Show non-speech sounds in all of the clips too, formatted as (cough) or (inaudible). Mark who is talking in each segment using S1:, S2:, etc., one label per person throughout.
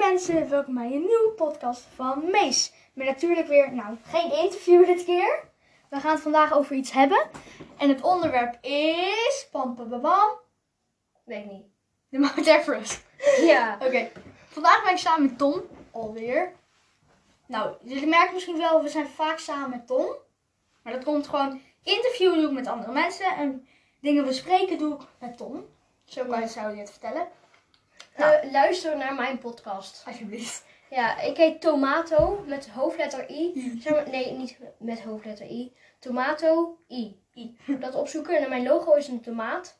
S1: mensen, welkom bij een nieuwe podcast van Mees. Met natuurlijk weer, nou, geen interview dit keer. We gaan het vandaag over iets hebben. En het onderwerp is... Pam, pam, pam, pam.
S2: Weet ik niet.
S1: De Mount Everest.
S2: Ja.
S1: Oké, vandaag ben ik samen met Tom, alweer. Nou, jullie merken misschien wel, we zijn vaak samen met Tom. Maar dat komt gewoon, interview doe ik met andere mensen en dingen bespreken doe ik met Tom. Zo kan je, zou je het vertellen,
S2: Eh, luister naar mijn podcast.
S1: alsjeblieft.
S2: Ja, ik heet Tomato met hoofdletter I. Zeg maar- Nee, niet met hoofdletter I. Tomato I.
S1: I.
S2: Dat opzoeken en mijn logo is een tomaat.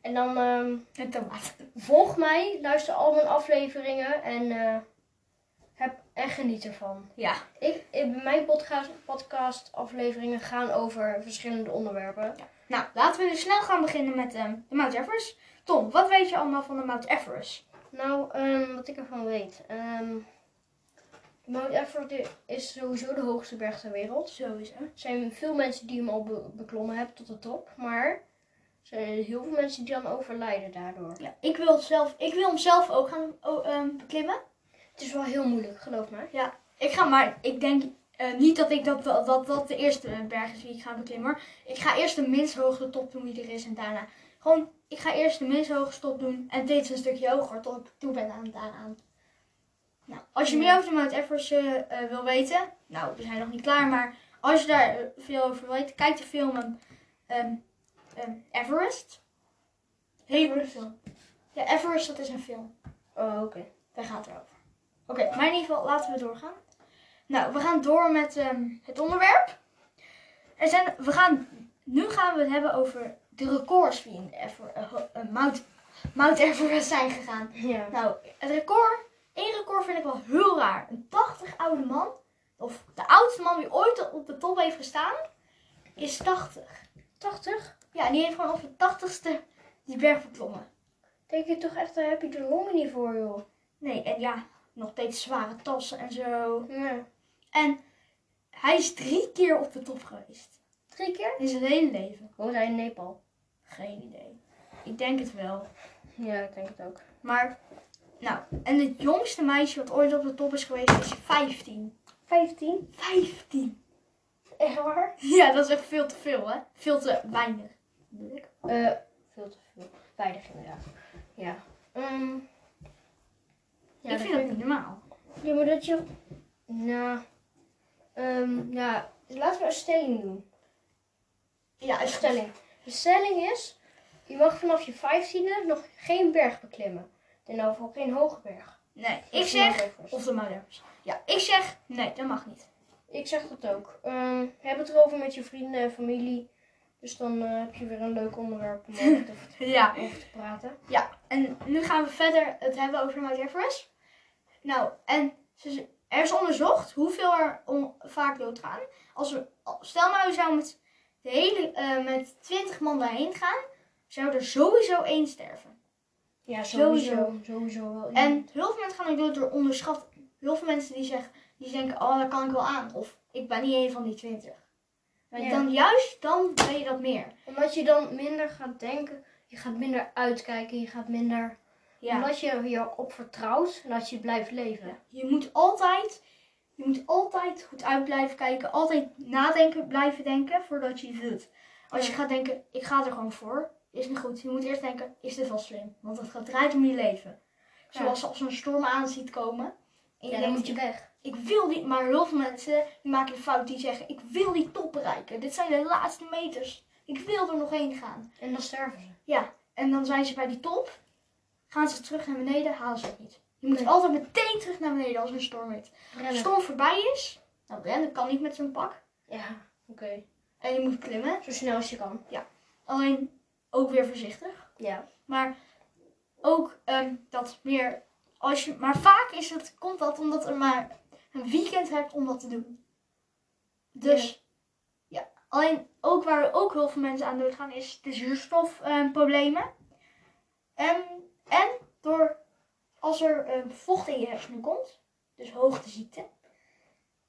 S2: En dan ehm,
S1: Met tomaat.
S2: volg mij, luister al mijn afleveringen en, eh, heb, en geniet ervan.
S1: Ja.
S2: Ik, ik- mijn podcast, podcast afleveringen gaan over verschillende onderwerpen.
S1: Nou, laten we dus snel gaan beginnen met ehm, de Mount Everest. Tom, wat weet je allemaal van de Mount Everest?
S2: Nou, ehm, wat ik ervan weet. ehm, Mount Everest is sowieso de hoogste berg ter wereld.
S1: Sowieso.
S2: Er zijn veel mensen die hem al be- beklommen hebben tot de top, maar er zijn heel veel mensen die dan overlijden daardoor.
S1: Ja, ik wil, het zelf, ik wil hem zelf ook gaan oh, ehm, beklimmen.
S2: Het is wel heel moeilijk, geloof me.
S1: Ik ga maar, ik denk eh, niet dat, ik dat, dat, dat dat de eerste berg is die ik ga beklimmen. hoor. Ik ga eerst de minst hoogste top doen die er is en daarna. Gewoon, ik ga eerst de minst hoogste top doen en steeds een stukje hoger tot ik toe ben aan daaraan. Nou, als je meer over de Mount Everest eh, eh, wil weten, nou, we zijn nog niet klaar, maar als je daar eh, veel over weet, kijk de film ehm, ehm, Everest. Hele
S2: Everest.
S1: film. Ja, Everest, dat is een film.
S2: Oh, oké. (laughs)
S1: Daar gaat het over. Oké, maar in ieder geval laten we doorgaan. Nou, we gaan door met ehm, het onderwerp. Er zijn, we gaan, nu gaan we het hebben over de records die in Ever, eh, ho- eh, Mount, Mount Everest zijn gegaan.
S2: Ja.
S1: Nou, het record, één record vind ik wel heel raar. Een 80 oude man, of de oudste man die ooit op de top heeft gestaan, is 80.
S2: 80?
S1: Ja, en die heeft gewoon op de 80ste die berg beklommen.
S2: Denk je toch echt, daar heb je de longen niet voor, joh.
S1: Nee, en ja, nog steeds zware tassen en zo.
S2: Ja.
S1: En hij is drie keer op de top geweest.
S2: Drie keer?
S1: In zijn hele leven.
S2: Woont hij in Nepal?
S1: Geen idee. Ik denk het wel.
S2: Ja, ik denk het ook.
S1: Maar, nou, en het jongste meisje wat ooit op de top is geweest is 15.
S2: 15?
S1: 15!
S2: Echt waar?
S1: (laughs) Ja, dat is echt veel te veel, hè? Veel te weinig. bedoel ik.
S2: Eh, veel te veel. Weinig inderdaad. Ja. Ehm, ja,
S1: ik
S2: dat
S1: vind dat niet normaal.
S2: Ja, maar dat je... Nou... ehm ja, laten we een stelling doen.
S1: Ja,
S2: Een stelling. De stelling is... Je mag vanaf je vijftiende nog geen berg beklimmen. En dan ook geen hoge berg.
S1: Nee,
S2: Of
S1: ik
S2: de
S1: zeg...
S2: Mount Everest.
S1: Of de Mount Everest. Ja, ik zeg... Nee, dat mag niet.
S2: Ik zeg dat ook. Ehm, heb het erover met je vrienden en familie. Dus dan eh, heb je weer een leuk onderwerp om over te,
S1: Ja,
S2: (laughs) over te praten.
S1: En nu gaan we verder het hebben over de Mount Everest. Nou, en ze ze- er is onderzocht hoeveel er om, vaak doodgaan. Als we, al- stel nou, we zouden met, de hele, eh, met 20 man daarheen gaan, zou er sowieso één sterven.
S2: Ja,
S1: Sowieso.
S2: sowieso. Sowieso wel.
S1: En heel veel mensen gaan ook dood door onderschatting. Heel veel mensen die, zeggen, die denken, oh, daar kan ik wel aan. Of, ik ben niet één van die 20. Maar
S2: Ja.
S1: dan juist, dan weet je dat meer.
S2: Omdat je dan minder gaat denken. Je gaat minder uitkijken. Je gaat minder...
S1: Ja.
S2: Omdat je er je op vertrouwt en dat je blijft leven.
S1: Je moet altijd, je moet altijd goed uit blijven kijken. Altijd nadenken, blijven denken voordat je iets doet. Als je
S2: Ja.
S1: gaat denken, ik ga er gewoon voor, is niet goed. Je moet eerst denken, is dit wel slim? Want het gaat draait om je leven.
S2: Ja.
S1: Zoals als een storm aan ziet komen. En je
S2: Ja, dan
S1: denkt,
S2: moet je weg.
S1: ik wil dit. Maar heel veel mensen die maken de fout die zeggen, ik wil die top bereiken. Dit zijn de laatste meters. Ik wil er nog heen gaan.
S2: En dan sterven ze.
S1: En dan zijn ze bij die top. Gaan ze terug naar beneden, halen ze het niet. Je moet
S2: Nee.
S1: altijd meteen terug naar beneden als er een storm is. Als de
S2: Rennen.
S1: storm voorbij is, nou rennen kan niet met zo'n pak.
S2: Ja, oké.
S1: En je moet klimmen.
S2: Zo snel als je kan.
S1: Alleen ook weer voorzichtig.
S2: Ja.
S1: Maar ook ehm, dat meer. Als je, maar vaak is het, komt dat omdat er maar een weekend hebt om dat te doen. Dus ja. Alleen ook waar ook heel veel mensen aan doodgaan is de zuurstofproblemen. en, Ehm, en door als er ehm, vocht in je hersenen komt, dus hoogteziekte,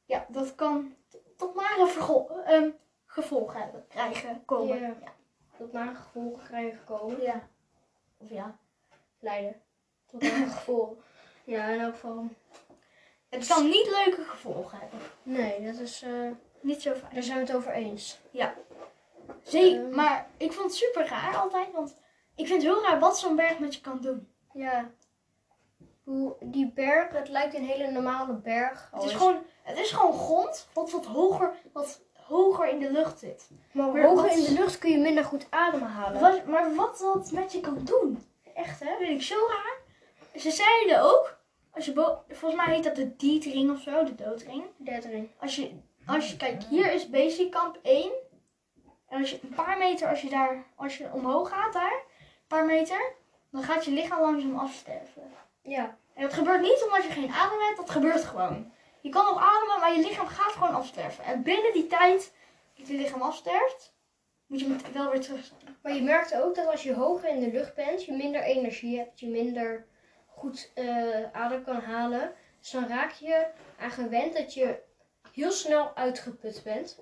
S1: ja, dat kan t- tot nare vergo- ehm, gevolgen hebben, krijgen, komen.
S2: Ja. Tot na gevolgen krijgen komen.
S1: Ja. Of ja.
S2: (laughs) Leiden. Tot na gevolgen. Ja, in elk geval.
S1: Het kan niet leuke gevolgen hebben.
S2: Nee, dat is. eh,
S1: Niet zo fijn.
S2: daar zijn we het over eens.
S1: Zee,
S2: Ehm.
S1: maar ik vond het super raar altijd, want ik vind het heel raar wat zo'n berg met je kan doen.
S2: Ja. Hoe die berg, het lijkt een hele normale berg.
S1: Het is, gewoon, het is gewoon grond wat wat hoger, wat hoger in de lucht zit.
S2: Maar
S1: Maar
S2: hoger
S1: wat-
S2: in de lucht kun je minder goed ademhalen.
S1: Wat, maar wat dat met je kan doen,
S2: Echt, hè?
S1: dat vind ik zo raar. Ze zeiden ook, als je bo- volgens mij heet dat de dietring of zo, de doodring.
S2: Dat erin.
S1: Als je, als je, kijk, hier is basic kamp 1. En als je een paar meter, als je daar, als je omhoog gaat daar, een paar meter, dan gaat je lichaam langzaam afsterven.
S2: Ja.
S1: En dat gebeurt niet omdat je geen adem hebt, dat gebeurt gewoon. Je kan nog ademen, maar je lichaam gaat gewoon afsterven. En binnen die tijd dat je lichaam afsterft, moet je met- wel weer terug zijn.
S2: Maar je merkt ook dat als je hoger in de lucht bent, je minder energie hebt, je minder goed eh, adem kan halen. Dus dan raak je aan gewend dat je heel snel uitgeput bent.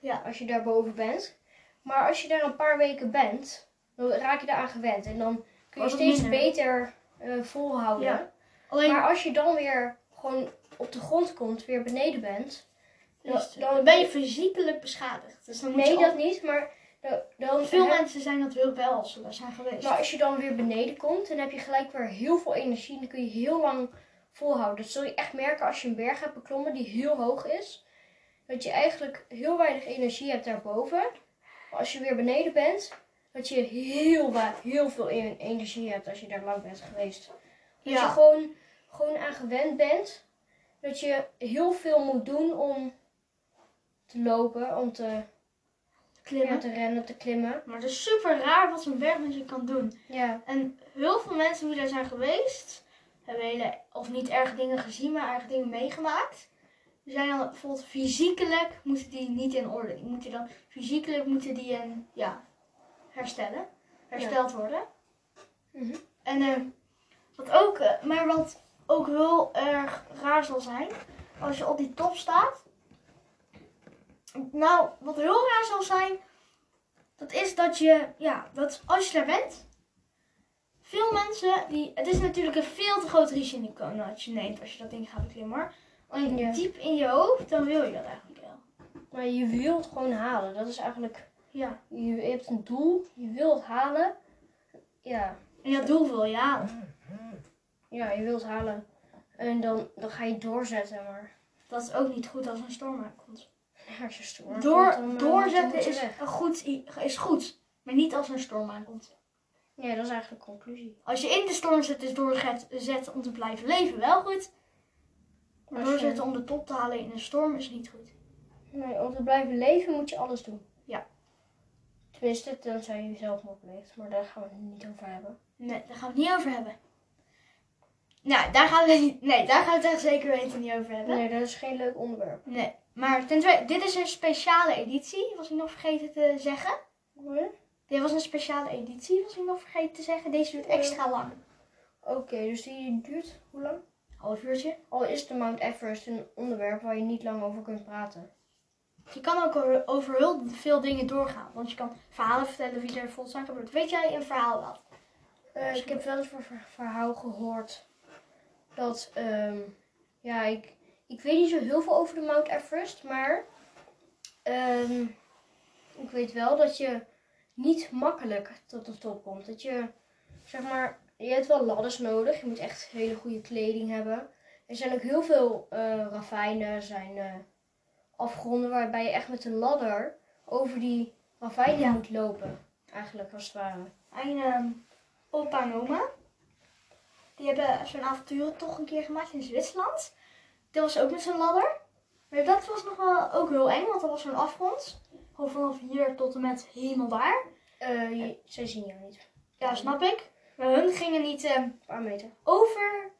S1: Ja.
S2: Als je daarboven bent. Maar als je daar een paar weken bent, dan raak je daar aan gewend. En dan kun je
S1: Wordt het
S2: steeds
S1: minder.
S2: beter eh, volhouden.
S1: Ja. Alleen,
S2: Maar als je dan weer gewoon op de grond komt, weer beneden bent. Dan,
S1: dus, dan ben je fysiekelijk beschadigd. Dus dan moet
S2: Nee,
S1: je
S2: dat niet, maar dan, dan
S1: Veel
S2: heb-
S1: mensen zijn dat heel wel als ze daar zijn geweest.
S2: Maar Dus als je dan weer beneden komt, dan heb je gelijk weer heel veel energie. En dan kun je heel lang volhouden. Dat zul je echt merken als je een berg hebt beklommen die heel hoog is. Dat je eigenlijk heel weinig energie hebt daarboven. Maar als je weer beneden bent, dat je heel, wa- heel veel en- energie hebt als je daar lang bent geweest. Dat je gewoon, gewoon aan gewend bent. Dat je heel veel moet doen om te lopen, om te,
S1: klimmen.
S2: ja, te rennen, te klimmen.
S1: Maar het is super raar wat zo'n berg met je kan doen.
S2: Ja,
S1: En heel veel mensen die daar zijn geweest, hebben hele, of niet erg dingen gezien, maar erg dingen meegemaakt. Die zijn dan bijvoorbeeld fysiekelijk moeten die niet in orde. Die moeten dan, fysiekelijk moeten die een, ja, herstellen. Hersteld worden.
S2: Mhm.
S1: En eh, wat ook, eh, maar wat ook heel erg raar zal zijn, als je op die top staat. Nou, wat heel raar zal zijn, dat is dat je, ja, dat als je daar bent, veel mensen, die, het is natuurlijk een veel te groot risico dat je neemt als je dat ding gaat beklimmen. hoor. Alleen
S2: Ja.
S1: diep in je hoofd, dan wil je dat eigenlijk wel.
S2: maar je wilt gewoon halen. Dat is eigenlijk,
S1: Ja.
S2: je hebt een doel, je wilt halen. Ja,
S1: En dat doel wil je halen.
S2: ja je wilt halen. En dan, dan ga je doorzetten, maar
S1: Dat is ook niet goed als een storm aankomt.
S2: als je stoer
S1: Door,
S2: komt, dan, eh, dan
S1: doorzetten
S2: moet je
S1: is,
S2: weg.
S1: een goed, i- is goed, maar niet als er een storm aankomt.
S2: Ja, dat is eigenlijk de conclusie.
S1: Als je in de storm zit, is doorzetten om te blijven leven wel goed. Maar
S2: Als je-
S1: doorzetten om de top te halen in een storm is niet goed.
S2: Nee, om te blijven leven moet je alles doen.
S1: Ja.
S2: Tenminste, tenzij je zelf pleegt, maar daar gaan we het niet over hebben.
S1: Nee, daar gaan we het niet over hebben. Nou, daar gaan we, (laughs) niet- nee, daar gaan we het echt zeker weten niet over hebben.
S2: Nee, dat is geen leuk onderwerp.
S1: Nee, maar ten tweede, dit is een speciale editie, was ik nog vergeten te zeggen.
S2: Oké,
S1: Dit was een speciale editie, was ik nog vergeten te zeggen. Deze duurt extra lang.
S2: dus die duurt hoe lang?
S1: Half uurtje.
S2: Al is de Mount Everest een onderwerp waar je niet lang over kunt praten.
S1: Je kan ook over- over heel veel dingen doorgaan. Want je kan verhalen vertellen wie er volgens mij gebeurt. Weet jij een verhaal wel?
S2: Eh, ik heb wel eens een ver- verhaal gehoord dat, ehm, ja, ik, ik weet niet zo heel veel over de Mount Everest, maar ehm, ik weet wel dat je niet makkelijk tot de top komt. Dat je, zeg maar, je hebt wel ladders nodig, je moet echt hele goede kleding hebben. Er zijn ook heel veel eh ravijnen, er zijn eh, afgronden waarbij je echt met een ladder over die ravijnen
S1: Ja.
S2: moet lopen, eigenlijk als het ware.
S1: Mijn ehm, opa en oma. Die hebben zo'n avonturen toch een keer gemaakt in Zwitserland. Dat was ook met zo'n ladder. Maar dat was nog wel ook heel eng, want dat was zo'n afgrond. Gewoon vanaf hier tot en met helemaal daar.
S2: Eh, je- zij zien jou niet.
S1: Ja, snap ik. Maar hun gingen niet ehm,
S2: Een paar meter.
S1: over.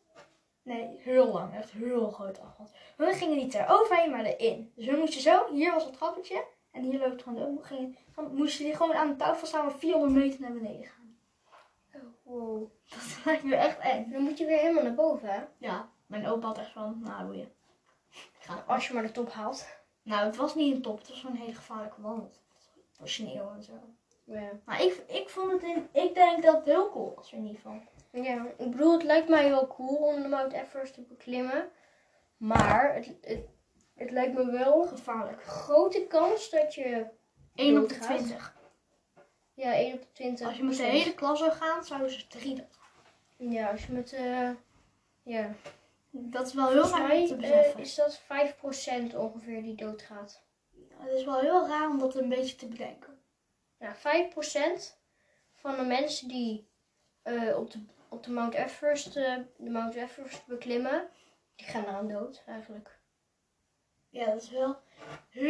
S1: Nee, heel lang. Echt heel groot afgrond. Hun gingen niet er overheen, maar erin. Dus hun moesten zo. Hier was het trappetje. En hier loopt gewoon de open. Gingen, dan moesten die gewoon aan de touw vasthouden 400 meter naar beneden gaan. (laughs) Oh.
S2: Wow.
S1: Dat lijkt me echt eng.
S2: Dan moet je weer helemaal naar boven, hè?
S1: Ja, mijn opa had echt van, nou doe je. Ik ga-
S2: Als je maar de top haalt.
S1: Nou, het was niet een top. Het was gewoon een hele gevaarlijke wandel. Door sneeuw en zo.
S2: Ja.
S1: Maar ik, ik vond het, in, ik denk dat het heel cool was in ieder geval.
S2: Ja, ik bedoel, het lijkt mij wel cool om de Mount Everest te beklimmen. Maar het, het, het lijkt me wel
S1: Gevaarlijk.
S2: grote kans dat je
S1: 1 op de
S2: Doodgaat.
S1: 20.
S2: Ja, 1 op de 20.
S1: Als je met de hele klas zou gaan, zouden ze 3 doen.
S2: Ja, als je met eh ja.
S1: Dat is wel heel
S2: Volgens
S1: raar om
S2: mij
S1: te
S2: eh,
S1: beseffen.
S2: is dat 5% ongeveer die doodgaat.
S1: Het is wel heel raar om dat een beetje te bedenken.
S2: Ja, 5% van de mensen die eh, op, de, op de Mount Everest, eh, de Mount Everest beklimmen, die gaan eraan dood eigenlijk.
S1: Ja, dat is wel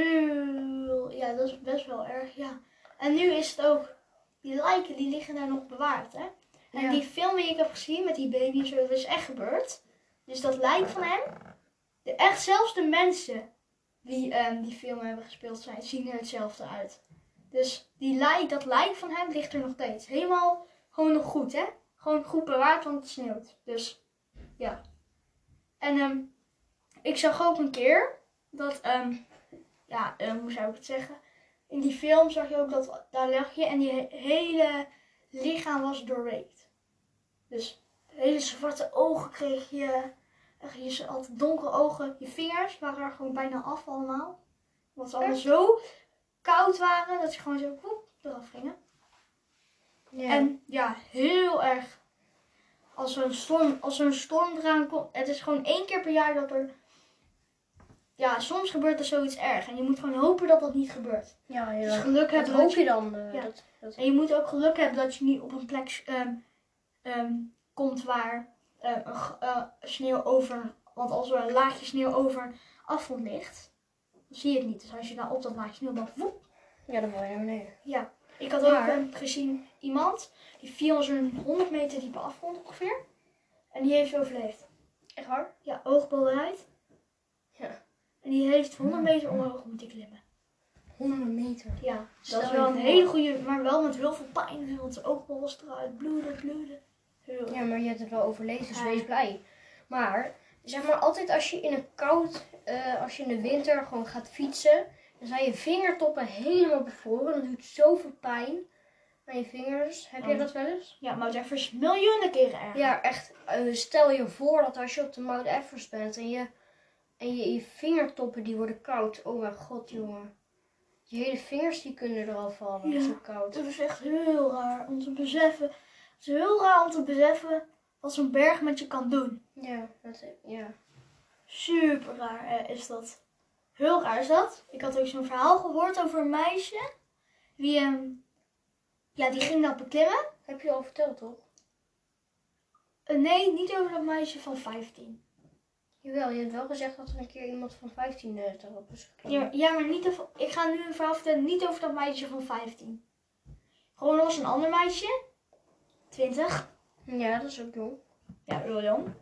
S1: heel... Ja, dat is best wel erg, ja. En nu is het ook... Die lijken, die liggen daar nog bewaard, hè? En
S2: Ja.
S1: die film die ik heb gezien met die baby en zo, dat is echt gebeurd. Dus dat lijk van hem... De, echt zelfs de mensen die ehm, die film hebben gespeeld zijn, zien er hetzelfde uit. Dus die lijk, dat lijk van hem ligt er nog steeds. Helemaal gewoon nog goed, hè? Gewoon goed bewaard, want het sneeuwt. Dus, ja. En ehm, ik zag ook een keer dat... ehm, ja, eh, hoe zou ik het zeggen? In die film zag je ook dat daar lag je en die he- hele lichaam was doorweekt. Dus hele zwarte ogen kreeg je. Echt, je z- had donkere ogen. Je vingers waren er gewoon bijna af allemaal. Omdat ze allemaal zo koud waren dat ze gewoon zo poep eraf gingen.
S2: Ja.
S1: En ja, heel erg. Als er een storm, als er een storm eraan komt. Het is gewoon één keer per jaar dat er. Ja, soms gebeurt er zoiets erg. En je moet gewoon hopen dat dat niet gebeurt.
S2: ja,
S1: Dus
S2: ja.
S1: geluk
S2: Dat
S1: hebben dat
S2: hoop
S1: je,
S2: je dan. eh,
S1: Ja.
S2: dat, dat,
S1: En je moet ook geluk hebben dat je niet op een plek ehm, ehm, komt waar eh, een g- eh, sneeuw over. Want als er een laagje sneeuw over een afgrond ligt, dan zie je het niet. Dus als je dan op dat laagje sneeuw dan woep,
S2: ja, dan val je naar beneden.
S1: ja, ik had ook
S2: Maar-
S1: ehm, gezien iemand die viel als een 100 meter diepe afgrond ongeveer. En die heeft overleefd.
S2: Echt waar?
S1: Ja, oogboven uit.
S2: Ja.
S1: En die heeft 100 meter omhoog moeten klimmen.
S2: 100 meter.
S1: Ja, dat
S2: Stel
S1: is
S2: je
S1: wel een
S2: voor.
S1: hele goede, maar wel met heel veel pijn. Want zijn oogbol was eruit, bloeden, bloeden. Heel-
S2: Ja, maar je hebt het wel overleefd, dus
S1: Ja.
S2: wees blij. Maar zeg maar altijd als je in een koud, eh, als je in de winter gewoon gaat fietsen, dan zijn je vingertoppen helemaal bevroren. Dat doet zoveel pijn aan je vingers. Heb jij
S1: Oh.
S2: dat wel eens?
S1: Ja, Mount Everest is miljoenen keren erg.
S2: Ja, echt. eh, stel je voor dat als je op de Mount Everest bent en je, en je, je vingertoppen die worden koud. Oh mijn god, jongen. Je hele vingers die kunnen er al vallen.
S1: Ja.
S2: Zo koud.
S1: Dat is echt heel raar om te beseffen. Het is heel raar om te beseffen wat zo'n berg met je kan doen.
S2: Ja, dat, ja.
S1: Super raar eh, is dat. Heel raar is dat. Ik had ook zo'n verhaal gehoord over een meisje. Die, ehm, ja, die ging dat beklimmen.
S2: Heb je al verteld, toch?
S1: Eh, nee, niet over dat meisje van 15.
S2: Jawel, je hebt wel gezegd dat er een keer iemand van 15 eh, daarop is gekomen.
S1: Ja, ja maar niet over, ik ga nu een verhaal vertellen. Niet over dat meisje van 15. Gewoon er was een ander meisje. 20.
S2: Ja, dat is ook jong.
S1: Ja, heel jong.
S2: Ik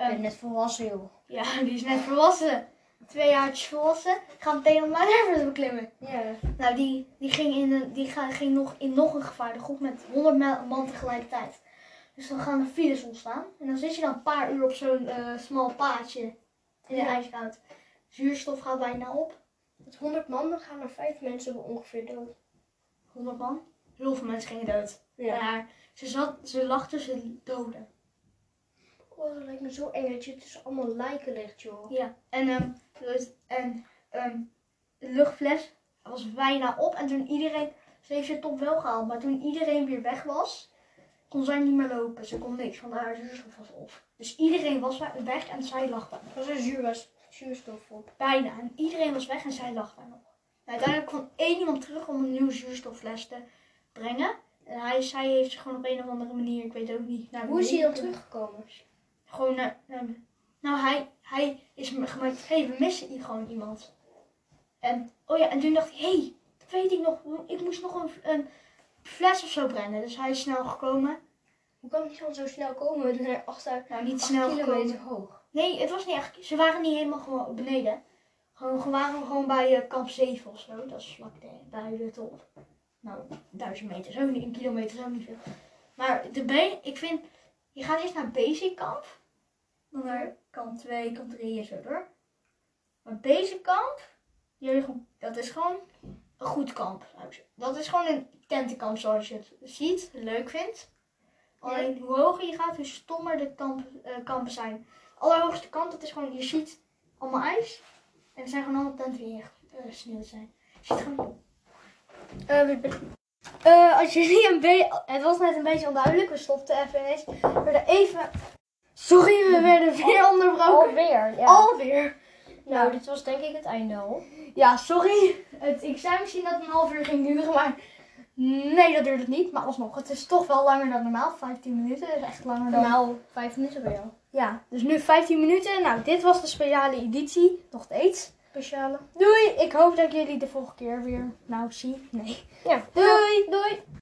S1: Ehm,
S2: ben net volwassen, joh.
S1: ja, (laughs) die is net volwassen. Twee jaartjes volwassen. Gaat meteen op Mount Everest beklimmen.
S2: Ja.
S1: Nou, die, die, ging, in een, die ga, ging nog in nog een gevaarlijke groep met 100 ma- man tegelijkertijd. Dus dan gaan er files ontstaan. En dan zit je dan een paar uur op zo'n eh smal paadje in de
S2: Ja.
S1: ijskoud. Zuurstof gaat bijna op.
S2: Met 100 man dan gaan er 5 mensen ongeveer dood.
S1: 100 man. Heel veel mensen gingen dood. Maar ze, zat, ze lag tussen de doden.
S2: Oh, dat lijkt me zo eng dat je tussen allemaal lijken ligt, joh.
S1: Ja. En, ehm, dus, en ehm, de luchtfles was bijna op. En toen iedereen... Ze heeft ze top wel gehaald. Maar toen iedereen weer weg was... kon zij niet meer lopen. Ze kon niks, want haar zuurstof was op. Dus iedereen was wa- weg en zij lag daar.
S2: Er was een zuurwas, zuurstof op.
S1: Bijna. En iedereen was weg en zij lag daar nog. En uiteindelijk kwam één iemand terug om een nieuwe zuurstoffles te brengen. En hij, zij heeft zich gewoon op een of andere manier, ik weet ook niet... Naar
S2: Hoe is hij dan
S1: beneden-
S2: teruggekomen?
S1: Gewoon naar... naar- nou, hij, hij is me- gemaakt, hé, we missen hier gewoon iemand. En, oh ja, en toen dacht ik, hé, hey, dat weet ik nog. Ik moest nog een, een fles of zo brengen. Dus hij is snel gekomen.
S2: Hoe kan die dan zo snel komen? We zijn 8,
S1: Nou, niet snel
S2: kilometer
S1: gekomen.
S2: hoog.
S1: Nee, het was niet echt. Ze waren niet helemaal gewoon beneden. Gewoon, ze waren gewoon bij eh, kamp 7 of zo. Dat is vlak de- bij de top. Nou, duizend meter is ook niet, een kilometer is ook niet veel. Maar de B, ik vind, je gaat eerst naar basic kamp. Dan naar kamp 2, kamp 3 en zo door. Maar basic kamp, die hebben gewoon- dat is gewoon een goed kamp. zou ik zeggen. Dat is gewoon een tentenkamp zoals je het ziet, leuk vindt. Alleen hoe hoger je gaat, hoe stommer de kamp, eh, kampen zijn. Allerhoogste kamp, dat is gewoon, je ziet allemaal ijs. En er zijn gewoon allemaal tenten die echt eh, sneeuw zijn. Je ziet gewoon...
S2: Eh, we- we- eh, als jullie een beetje... Het was net een beetje onduidelijk. We stopten even ineens. We werden even...
S1: Sorry, we werden weer onderbroken.
S2: Alweer, ja.
S1: Alweer.
S2: Nou, dit was denk ik het einde al.
S1: Ja, sorry. Het, ik zou misschien dat het een half uur ging duren, maar nee, dat duurt het niet. Maar alsnog, het is toch wel langer dan normaal. 15 minuten is echt langer dan
S2: Normaal vijf minuten bij jou.
S1: Ja, dus nu 15 minuten. Nou, dit was de speciale editie. Nog steeds.
S2: Speciale.
S1: Doei! Ik hoop dat ik jullie de volgende keer weer nou zie. Nee.
S2: Ja.
S1: Doei!
S2: Doei!